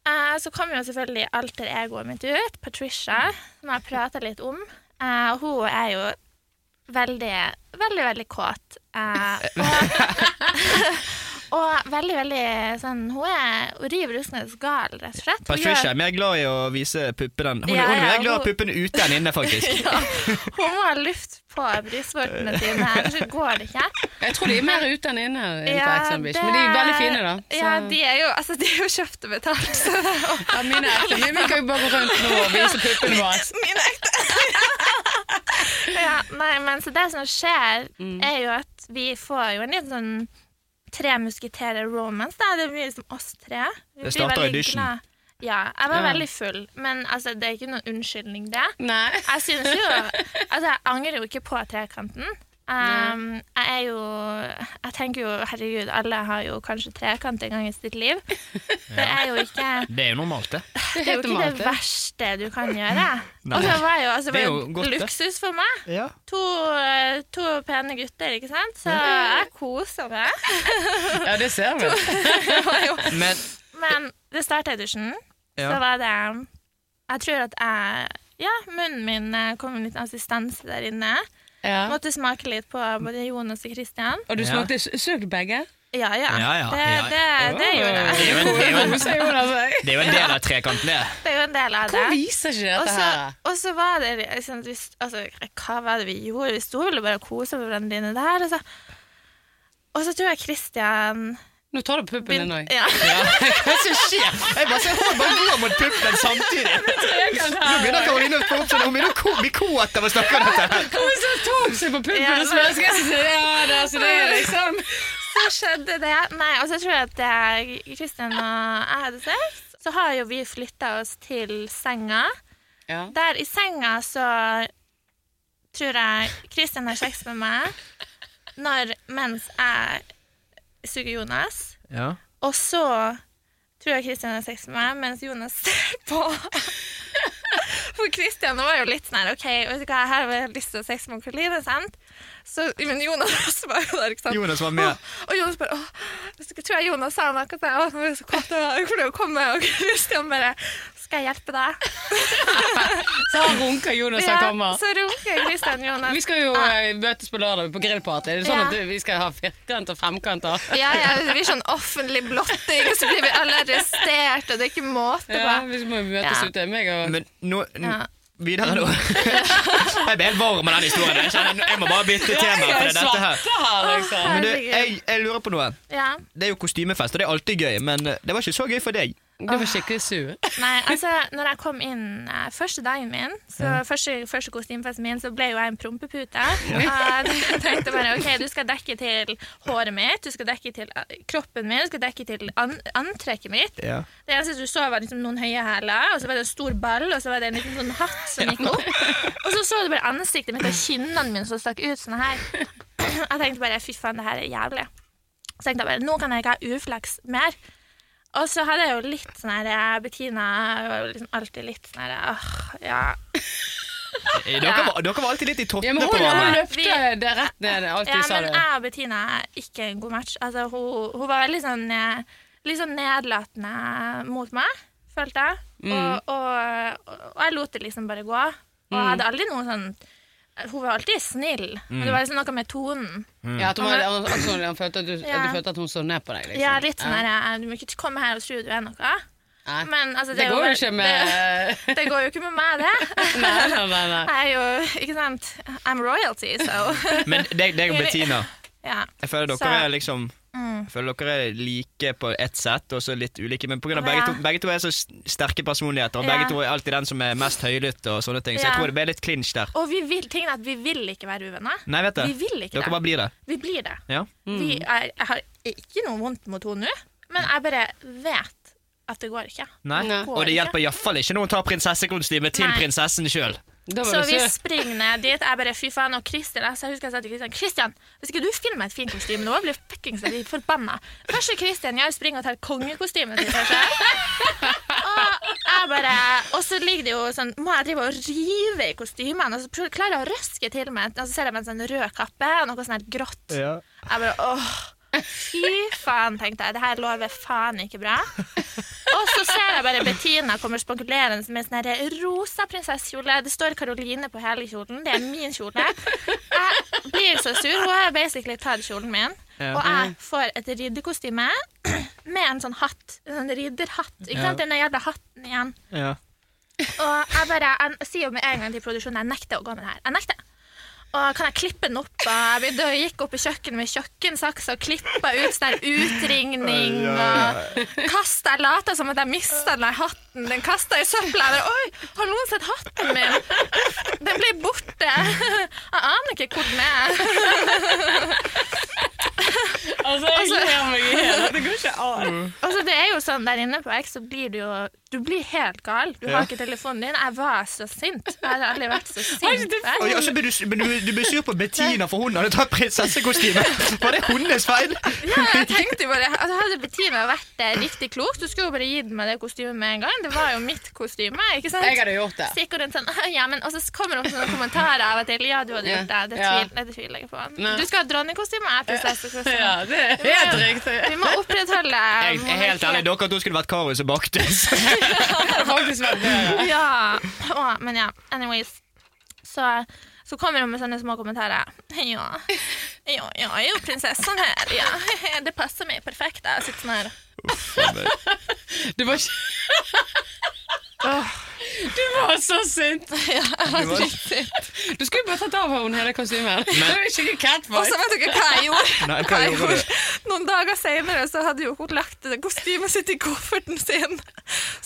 D: Eh, Så kom jo selvfølgelig alter egoet mitt ut, Patricia, som jeg prata litt om. Eh, og Hun er jo veldig, veldig, veldig kåt. Eh, og, og veldig, veldig sånn Hun er hun river russende gal, rett og slett. Hun
C: Patricia er
D: gjør-
C: mer glad i å vise puppene. Hun, hun
D: Ja,
C: er
D: ja,
C: mer glad i å ha
D: hun-
C: puppene ute enn inne, faktisk.
D: ja, hun må ha luft på brystvortene sine, ellers så går det ikke.
B: Jeg tror de er mer ute enn inne, inn på Ex on the Beach, men de er veldig fine, da. Så.
D: Ja, de er jo, altså, de er jo kjøpt og betalt, så det er jo
B: Ja, mine er ekte. Vi kan jo bare gå rundt nå og vise puppene våre.
D: Mine ekte. ja, nei, men så det som skjer, er jo at vi får jo en liten sånn tre musketerer romance. Da. Det blir liksom oss tre. Vi
C: Det
D: blir
C: starter
D: veldig
C: audition.
D: glad. Ja, jeg var
B: Ja.
D: veldig full, men altså, det er ikke noen unnskyldning, det.
B: Nei.
D: Jeg synes jo Altså, jeg angrer jo ikke på trekanten. Um, jeg er jo Jeg tenker jo, herregud, alle har jo kanskje trekant en gang i sitt liv. Det er jo ikke
C: Det er jo normalt, det.
D: det er jo
B: helt
D: ikke
B: normalt,
D: det
B: det.
D: verste du kan gjøre.
C: Nei.
D: Og så var jo, altså,
C: Det
D: det
C: er
D: var
C: jo
D: jo
C: godt, det.
D: luksus for meg.
C: Ja.
D: To, eh, to pene gutter, ikke sant? Så jeg koser meg.
B: Ja, det ser vi.
D: Det var jo-
C: Men
D: Men det starta i dusjen. Så
C: ja.
D: var det um, Jeg tror at jeg Ja, munnen min eh, kom med litt assistanse der inne.
B: Ja.
D: Måtte smake litt på både Jonas og Christian.
B: Og du
C: Ja.
B: smakte søkt begge?
D: Ja ja.
C: Ja, ja,
D: det,
C: ja, ja.
D: Det, det gjorde jeg.
C: Det er jo en- det er jo en-
B: Sier Jonas og jeg.
C: Det er jo en del av trekanten, det.
D: Det er jo en del av det.
B: Hvorfor viser ikke
D: Og
B: dette
D: så,
B: her?
D: og så var det liksom, at vi, st- altså, Hva var det vi gjorde? Vi sto vel og bare kosa med hverandre inne der. Og så, og så tror jeg Christian
B: Nå tar du puppen din òg.
D: ja.
C: Hva som skjer? Jeg bare ser hånden bare gå mot puppen samtidig. Nå begynner Karoline å få opp sånn Hun begynner å ko- bli kåt av å snakke om dette. her.
B: Hun så tok seg på puppen
D: Ja,
B: og så skal jeg si ja, det, altså, det er liksom
D: Så skjedde det. Nei, og så tror jeg at eh, Christian og jeg hadde sex. Så har jo vi flytta oss til senga.
B: ja.
D: Der i senga så tror jeg Christian har sex med meg når, mens jeg suger Jonas.
C: Ja.
D: Og så tror jeg Kristian har sex med meg mens Jonas ser på. For Christian var jo litt sånn her OK, vet du hva, her har jeg lyst til å sex med onkel Line, sant? Så, men Jonas også var jo der, ikke sant?
C: Jonas var med.
D: Åh, og Jonas bare Åh, jeg tror jeg Jonas sa noe til deg, og han var så kåt, og jeg prøvde å komme, og Christian bare Skal jeg hjelpe deg?
B: Så han runker Jonas han kommer.
D: så runker Christian Jonas.
B: Vi skal jo eh, møtes på lørdag på grillparty. Er det sånn
D: Ah. Ja.
B: at du- vi skal ha firkant og fremkant? og-
D: Ja, ja, det blir sånn offentlig blotting, og så blir vi alle arrestert, og det er ikke måte på.
B: Ja, vi må jo møtes
D: Ja.
B: ute. Meg og
C: Men nå n-
D: Ja.
C: Videre, da. jeg ble helt varm av den historien. Jeg, kjenner, jeg må bare bytte tema. For det er dette her.
B: svarte her, liksom.
C: Men du, jeg, jeg lurer på noe.
D: Ja.
C: Det er jo kostymefest, og det er alltid gøy, men eh, det var ikke så gøy for deg.
B: Mm. Du var skikkelig sur.
D: Nei, altså, når jeg kom inn eh, første dagen min, så første, første kostymefesten min, så ble jo jeg en prompepute. Og jeg tenkte bare OK, du skal dekke til håret mitt, du skal dekke til eh, kroppen min, du skal dekke til an antrekket mitt.
C: Ja.
D: Det eneste du så, var liksom noen høye hæler, og så var det en stor ball, og så var det en liten sånn hatt som gikk opp. Og så så du bare ansiktet mitt og kinnene mine som stakk ut sånn her. Jeg tenkte bare fy faen, det her er jævlig. Så tenkte jeg bare nå kan jeg ikke ha uflaks mer. Og så hadde jeg jo litt sånn her eh, Bettina var jo liksom alltid litt sånn her åh, ja.
C: Eh, Dere, var, dere var alltid litt i
B: Ja,
C: tottene
B: men
C: på
B: hun, hun
C: hverandre.
B: løpte det rett ned, alt
D: ja,
B: du sa.
D: men
B: det.
D: jeg og Bettina er ikke en god match. Altså, hun, hun var veldig sånn eh, Litt sånn nedlatende mot meg, følte jeg.
B: Mm.
D: Og, og, og jeg lot det liksom bare gå. Og
B: Mm.
D: jeg hadde aldri noe sånn Hun var alltid snill, men det var liksom noe med tonen.
C: Mm.
B: Ja, at hun, var- han, han, så- han følte at du,
D: Ja.
B: at du følte at hun så ned på deg, liksom.
D: Ja, litt sånn
B: Ja.
D: her eh, Du må ikke komme her og tro du er noe.
B: Nei.
D: Men altså,
B: det,
D: er
B: går jo
D: bare-
B: ikke med
D: det, det går jo ikke med meg, det.
B: Nei, nei, nei. nei.
D: Jeg er jo Ikke sant? I'm royalty, so
C: Men deg, deg og Bettina,
D: ja.
C: jeg føler dere
D: Så- Mm.
C: er liksom jeg føler dere er like på ett sett, og så litt ulike. Men pga.
D: Ja.
C: begge, to- begge to er så s- sterke personligheter, og
D: Ja.
C: begge to er alltid den som er mest høylytt, og sånne ting. Så jeg
D: Ja.
C: tror det ble litt clinch der.
D: Og vi vil, tingen er at vi vil ikke være uvenner.
C: Nei, vet du.
D: Vi vil ikke
C: Dere
D: det.
C: bare blir det.
D: Vi blir det.
C: Ja.
D: Vi er, jeg har ikke noe vondt mot henne nå, men jeg bare vet at det går ikke.
C: Nei.
B: Nei.
C: Og det hjelper iallfall ikke når hun tar prinsessekostyme til
D: Nei.
C: prinsessen sjøl.
B: Da var
D: Så
B: du
D: vi
B: sur.
D: springer ned dit. Jeg bare, fy faen, og Kristin altså, Jeg husker jeg sa til Kristian Kristian, hvis ikke du finner meg et fint kostyme nå, blir jeg fuckings litt forbanna. Første Kristian gjør, springer og tar kongekostymet sitt for seg. Og jeg bare Og så ligger det jo sånn Må jeg drive og rive i kostymene? Og så prøver- klarer jeg å røske til meg, og så ser jeg meg en sånn rød kappe og noe sånn her grått. Jeg bare åh, fy faen, tenkte jeg. Det her lover faen ikke bra. Og så ser jeg bare Bettina kommer spankulerende med sånn her rosa prinsessekjole. Det står Karoline på hele kjolen. Det er min kjole. Jeg blir så sur. Hun har basically tatt kjolen min. Og jeg får et ridderkostyme med en sånn hatt. En sånn ridderhatt. Ikke sant? Den jævla hatten igjen. Og jeg bare jeg sier jo med en gang til produksjonen jeg nekter å gå med det her. Jeg nekter. Og kan jeg klippe den opp? Og jeg begynte å gikk opp i kjøkkenet med kjøkkensaks og klippa ut sånn her utringning. Og kasta Jeg lata som at jeg mista den der hatten. Den kasta i søpla. Jeg bare, Oi, har noen sett hatten min? Den ble borte. Jeg aner ikke hvor den er.
B: Altså, jeg gleder meg i hjel. Det går ikke an.
D: Altså, det er jo sånn der inne på X, så blir du jo Du blir helt gal. Du har ikke telefonen din. Jeg var så sint. Jeg har aldri vært så sint.
C: Og ja, så ble du, men du, du ble sur på Bettina, for hun hadde tatt prinsessekostyme. Var det hennes feil?
D: Ja, jeg tenkte jo bare altså, Hadde Bettina vært eh, riktig klok, så skulle hun bare gitt meg det kostymet med en gang. Det var jo mitt kostyme, ikke sant?
B: Jeg hadde gjort det.
D: Stikker rundt sånn, «Ah, ja, men, Og så kommer det opp sånne kommentarer av og til. Ja, du hadde gjort det. Det
B: Ja.
D: tviler, det tviler jeg ikke på.
B: Nei.
D: Du skal ha dronningkostyme, jeg har prinsessekostyme.
B: Ja, det er helt riktig.
D: Vi må opprettholde
C: Jeg er helt ærlig, dere to skulle vært Karius og Baktus.
B: Det hadde faktisk vært bedre.
D: Ja. Å, men ja, anyways. Så, så kommer hun med sånne små kommentarer. Ja, ja, ja jeg er jo prinsessen her. Ja. Det passer meg perfekt. Jeg sitter sånn her.
B: Du var ikke Du var så sint! Du skulle bare tatt av henne hele kostymet. Det var skikkelig
D: Og
B: catfight.
D: så vet dere hva jeg gjorde?
C: Nei, hva
D: jeg
C: gjorde du?
D: Noen dager senere så hadde jo hun lagt det kostymet sitt i kofferten sin.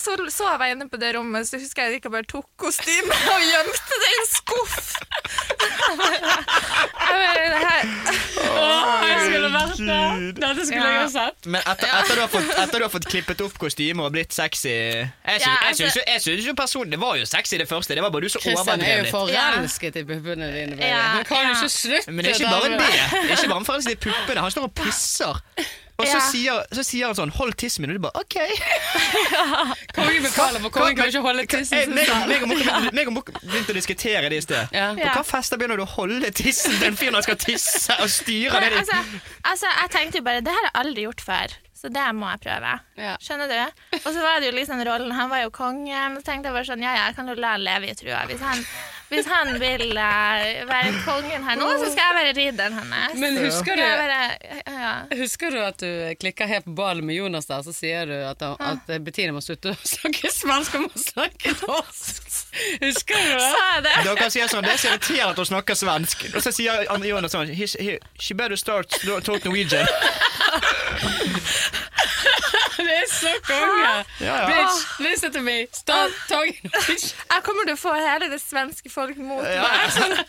D: Så sov jeg inne på det rommet, så husker jeg at jeg bare tok kostymet og gjemte det i en skuff. Jeg bare, det her...
B: Åh, jeg skulle vært der. Dette skulle jeg
D: Ja.
B: ha sett.
C: Men etter, etter, du har fått, etter du har fått klippet opp kostymer og blitt sexy Jeg
D: Ja, altså-
C: syns jo personen Det var jo sexy, det første. Det var bare du som
B: Kristian er
C: overdrev
B: jo
C: litt.
B: forelsket i puppene dine. baby.
D: Ja,
B: Han kan jo
D: ja.
B: ikke slutte.
C: Men det er ikke bare det. Det er ikke bare for de puppene. Han står og pisser. Og så,
D: Ja.
C: sier, så sier han sånn 'hold tissen min', og du bare 'ok'.
B: Kongen betaler, for kongen kan ikke holde
C: Eh,
B: tissen sin.
C: meg- meg og Mokke- meg og Mokke begynte å diskutere det i sted.
B: Ja.
C: På hvilke fester begynner du å holde tissen til en fyr når han skal tisse og styre
D: Nei,
C: det?
D: altså, altså, jeg tenkte jo bare Det her har jeg aldri gjort før, så det må jeg prøve.
B: Ja.
D: Skjønner du? Og så var det jo liksom rollen Han var jo kongen. Så tenkte jeg bare sånn Ja, ja, jeg kan jo la han leve i trua. Hvis han, hvis han vil eh, være kongen her nå, så skal jeg være ridderen hans.
B: Men husker
D: Skal jeg
B: du,
D: være- ja.
B: husker du at du klikker helt på ballen med Jonas der, så sier du at, han- at Bettina må slutte å snakke svensk og må snakke norsk? Husker du det?
D: Sa jeg det?
C: Dere sier sånn, Det er så irriterende at hun snakker svensk. Og så sier Anne Jonas sånn he, he, She better start to talk Norwegian.
B: Det er så konge!
C: Ja, ja.
B: Bitch, listen to me! Start talking!
D: Jeg kommer til å få hele det svenske folk mot meg.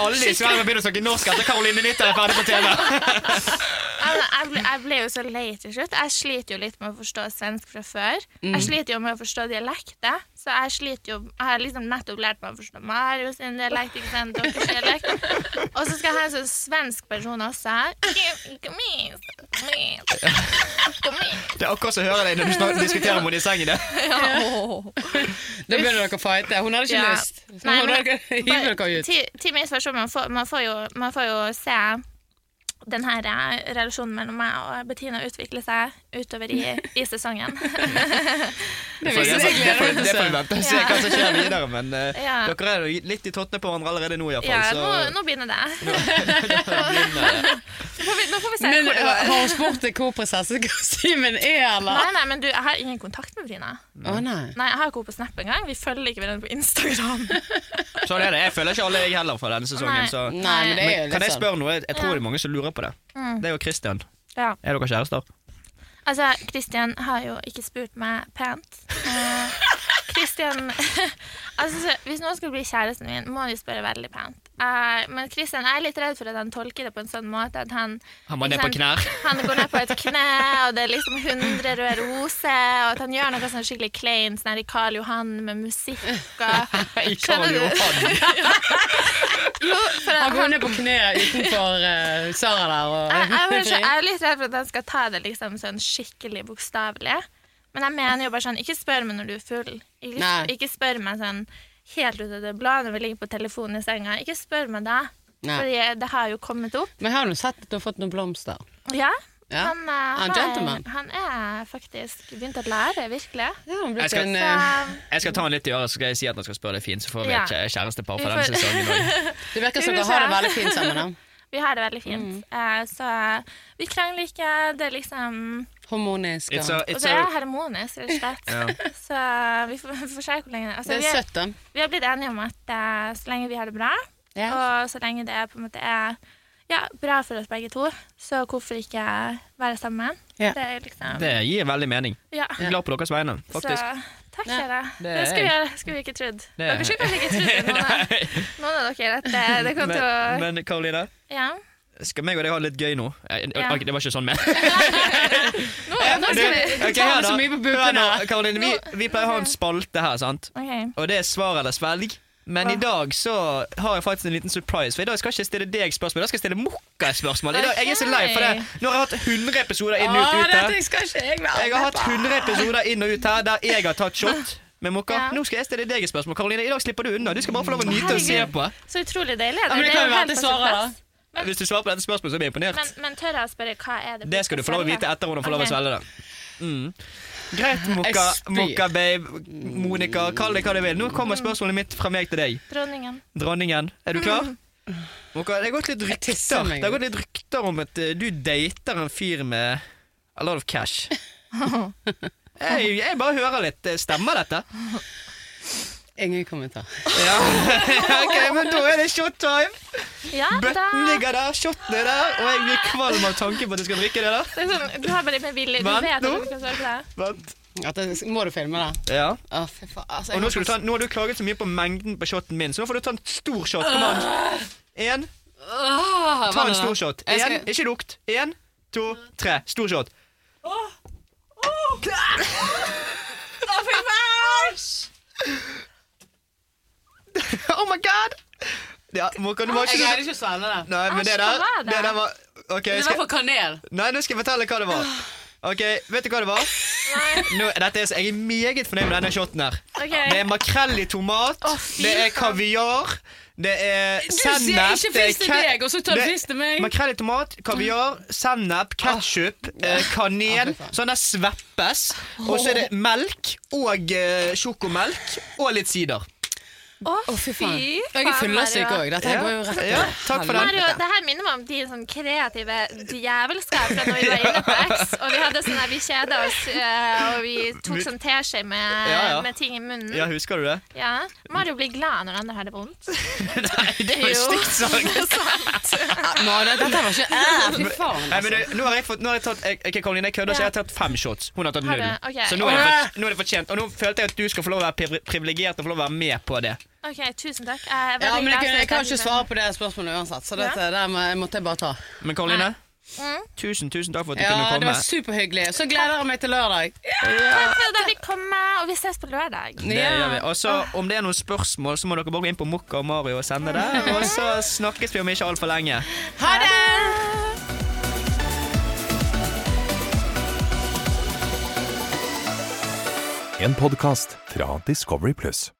C: Alle i Sverige begynner å snakke norsk etter Caroline Nytter er ferdig på TV.
D: Altså, jeg, ble, jeg ble jo så lei til slutt. Jeg sliter jo litt med å forstå svensk fra før. Jeg sliter jo med å forstå dialekter. Så jeg sliter jo Jeg har liksom nettopp lært meg å forstå Marius sin dialekt, ikke sant, deres dialekt. Og så skal jeg ha en sånn svensk person også. Kom hit, kom hit, kom hit.
C: Det er akkurat som å høre deg når du snak- diskuterer med henne i sengen. det.
B: Da begynner dere å fighte. Hun hadde ikke
D: Ja.
B: lyst. Hun
D: Nei, men-
B: hadde hiver dere ut.
D: Ti- ti minutes versjon, man får, man, får jo, man får jo se den her eh, relasjonen mellom meg og Bettina utvikle seg utover i, i sesongen.
B: Det
C: Så
B: viser
C: det
B: seg
C: altså. det får
B: glede
C: det får vi
B: seg.
C: vente og se hva som skjer videre. Men eh,
D: Ja.
C: dere er jo litt i tottene på hverandre allerede nå, iallfall.
D: Ja, nå,
C: Så
D: nå begynner det. Nå får vi, nå får vi se
B: Men eh,
D: hvor det går.
B: har hun spurt deg hvor prinsessekostymen er, eller?
D: Nei, nei, men du, jeg har ingen kontakt med Brina.
B: Å nei.
D: Nei, Jeg har ikke henne på Snap engang. Vi følger ikke hverandre på Instagram.
C: sånn er det. Jeg føler ikke alle jeg heller fra denne sesongen.
D: Nei.
C: Så.
B: Nei, men det er jo
C: Men, kan
B: litt
C: jeg
B: sånn.
C: spørre noe? Jeg tror det er mange som lurer på det.
D: Mm.
C: Det er jo Christian.
D: Ja.
C: Er dere kjærester?
D: Altså, Kristian har jo ikke spurt meg pent. Kristian Altså, så hvis noen skulle bli kjæresten min, må han jo spørre veldig pent. Eh, men Kristian, jeg er litt redd for at han tolker det på en sånn måte at han
C: Han var ned
D: ikke
C: på
D: sant,
C: knær.
D: Han går ned på et kne, og det er liksom 100 røde roser, og at han gjør noe sånn skikkelig kleint, sånn her i Karl Johan med musikk og
C: I Karl
D: Skjønner du?
C: Johan.
D: Jo, for
B: Har
D: han,
B: gått ned på kne utenfor eh, Sara der og
D: jeg, jeg, jeg, jeg er litt redd for at han skal ta det liksom sånn skikkelig bokstavelig. Men jeg mener jo bare sånn, ikke spør meg når du er full. Ikke,
B: Nei.
D: ikke spør meg sånn helt ut av det blå når vi ligger på telefonen i senga. Ikke spør meg da,
B: Nei.
D: for det har jo kommet opp.
B: Men har du sett at du har fått noen blomster?
D: Ja,
B: Ja.
D: Han, eh,
B: er en
D: har-
B: gentleman.
D: han er faktisk begynt å lære, virkelig.
B: Ja, hun
C: Jeg
B: blitt
C: skal-
B: en
D: Så,
B: eh,
C: Jeg skal ta han litt i øret, så skal jeg si at han skal spørre deg fint, så får vi
D: Ja.
C: et kjæ- kjærestepar
D: Vi
C: for denne
D: får-
C: sesongen òg.
B: Det virker som
D: Skal vi
B: dere har det
D: se.
B: veldig fint sammen. da.
D: vi har det veldig
B: Mm.
D: fint. Eh, så eh, vi krangler ikke. Det er liksom
B: Harmonisk.
C: It's a,
B: Og
D: Og
C: it's
D: så er
C: a,
D: jeg harmonisk, rett og slett. Så eh, vi får, vi får se hvor lenge altså,
B: det
D: vi
B: er
D: er-
B: søtt, da.
D: Vi har blitt enige om at eh, så lenge vi har det bra,
B: Ja.
D: og så lenge det på en måte er ja, bra for oss begge to, så hvorfor ikke være sammen?
B: Ja.
D: Det er liksom
C: det gir veldig mening.
D: Ja.
C: Jeg er glad på deres vegne,
D: Så
C: faktisk.
D: takk, kjære. Det,
C: er
D: skulle, vi, skulle vi ikke trodd.
C: Det er-
D: Dere skulle kanskje ikke trodd det, noen av, noen av dere, at det, det kom til å
C: Men, men Karoline,
D: Ja.
C: skal meg og deg ha det litt gøy nå? Jeg, jeg,
D: Ja.
C: ok, Det var ikke sånn ment.
D: Nå, nå skal vi
C: Ok,
B: tar
C: hør
B: det så
C: da.
B: mye på
C: Hør
B: puppene.
C: nå, Karoline, vi, vi pleier å ha en spalte her, sant?
D: OK.
C: Og det er svar eller svelg. Men i dag så har jeg faktisk en liten surprise. For i dag skal jeg ikke stille deg spørsmål, da skal jeg stille Mokka et spørsmål. I dag, jeg er så lei for det. Nå har jeg hatt 100 episoder inn og
B: Å,
C: ut her.
B: dette skal ikke jeg være
C: Jeg har hatt 100 episoder inn og ut her der jeg har tatt shot med Mokka.
D: Ja.
C: Nå skal jeg stille deg et spørsmål. Karoline, i dag slipper du unna. Du skal bare få lov å nyte og se
D: herregud.
C: på.
D: Så utrolig deilig.
B: men det
D: er
B: kan
D: jo
B: jo være
D: helt
B: til
D: på sin
B: Sara, da.
D: plass.
C: Hvis du svarer på dette spørsmålet, så blir jeg imponert.
D: Men, men tør jeg å spørre hva er det
C: Det skal du få lov å
D: selge?
C: vite etter hun har fått lov å
D: Ok.
C: svelge det. Mm. Greit, Mokka,
B: Jeg spyr.
C: Mokka babe, Monica, kall det hva du vil. Nå kommer spørsmålet mitt fra meg til deg.
D: Dronningen.
C: Dronningen, er du klar? Mokka, det har gått litt
B: tisser
C: rykter
B: meg.
C: Det har gått litt rykter om at eh, du dater en fyr med a lot of cash. Jeg, jeg bare hører litt. eh, Stemmer dette?
B: Ingen kommentar.
C: Ja. ok, men da er det shot time.
D: Ja, da.
C: Bøtten ligger der, shoten er der, og jeg blir kvalm av tanken på at du skal drikke det der.
D: Det er sånn, du har bare med vilje. Du
C: Vent
D: vet at
C: nå.
D: du skal svare på det.
C: Vent.
B: At det- må du filme det?
C: Ja.
B: Å, fy faen. Altså,
C: Og
B: jeg
C: nå,
B: har
C: skal du ta, nå har du klaget så mye på mengden på shoten min, så nå får du ta en stor shot. Kom an. En,
B: Åh,
C: ta
B: vann
C: en
B: da.
C: stor shot.
B: Jeg skal-
C: En, ikke lukt. En, to, tre. Stor shot. Oh my god! Ja, Mokan, du var
B: Jeg
C: ikke
B: greide
C: så
B: ikke å svelge det.
C: Oh Nei, men det
D: Æsj,
C: der,
D: hva var det?
C: det der var Ok,
B: Det var
C: skal,
B: for kanel.
C: Nei, nå skal jeg fortelle hva det var. Ok, Vet du hva det var?
D: Nei.
C: Nå, dette er, så- jeg er meget fornøyd med denne shoten her.
D: Ok.
C: Det er makrell i tomat,
D: Å, fy
C: det er
D: faen.
C: kaviar, det er
B: Du
C: sennep
B: sier ikke
C: det er
B: fisk til
C: ke-
B: deg, og så tar du
C: det-
B: fisk til meg.
C: Makrell i tomat, kaviar, sennep, ketsjup, kanel,
B: Å, fy faen.
C: sånn der sveppes. Og så er det melk og eh, sjokomelk og litt sider.
D: Å,
B: fy
D: fy
B: faen.
D: faen.
B: Jeg er fyllesyk
D: Mario.
B: òg. Dette her
C: Ja.
B: går jo rett
C: Ja, takk for den.
D: Mario, det her minner meg om de sånn kreative djevelskap fra når vi var inne på X. Og vi hadde sånn der, vi kjeda oss, eh, og vi tok sånn teskje med,
C: Ja, ja.
D: med ting i munnen.
C: Ja, husker du det?
D: Ja. Mario blir glad når andre har det vondt.
C: Nei, det er jo
D: Jo.
C: stygt sagt.
B: Nå, det, dette var ikke æ, Fy faen. altså.
C: Nei, men du, nå har jeg fått, nå har jeg tatt, jeg, ok, Karoline, jeg kødder ikke, jeg
D: Ja.
C: har tatt fem shots. Hun har tatt
D: Har
C: null.
D: du? Ok.
C: Så nå er, det for, nå er det fortjent. Og nå følte jeg at du skal få lov å være pri- privilegert og få lov å være med på det.
D: OK, tusen takk. Jeg er
B: Ja,
D: veldig
B: men jeg,
D: glad for
B: kunne- jeg
D: at
B: kan
D: fikk
B: ikke
D: den.
B: svare på det spørsmålet uansett, så dette der må, måtte jeg bare ta.
C: Men Karoline,
D: Mm.
C: tusen, tusen takk for at du kunne
B: Ja, det
C: komme.
B: var superhyggelig. Så gleder jeg meg til lørdag.
D: Takk for at jeg fikk komme, og vi ses på lørdag.
C: Det
B: Ja. Ah.
C: gjør vi. Og så Om det er noen spørsmål, så må dere bare gå inn på Mokka og Mario og sende det. Og så snakkes vi om ikke altfor lenge.
B: Ha det!
A: En podkast fra Discovery Pluss.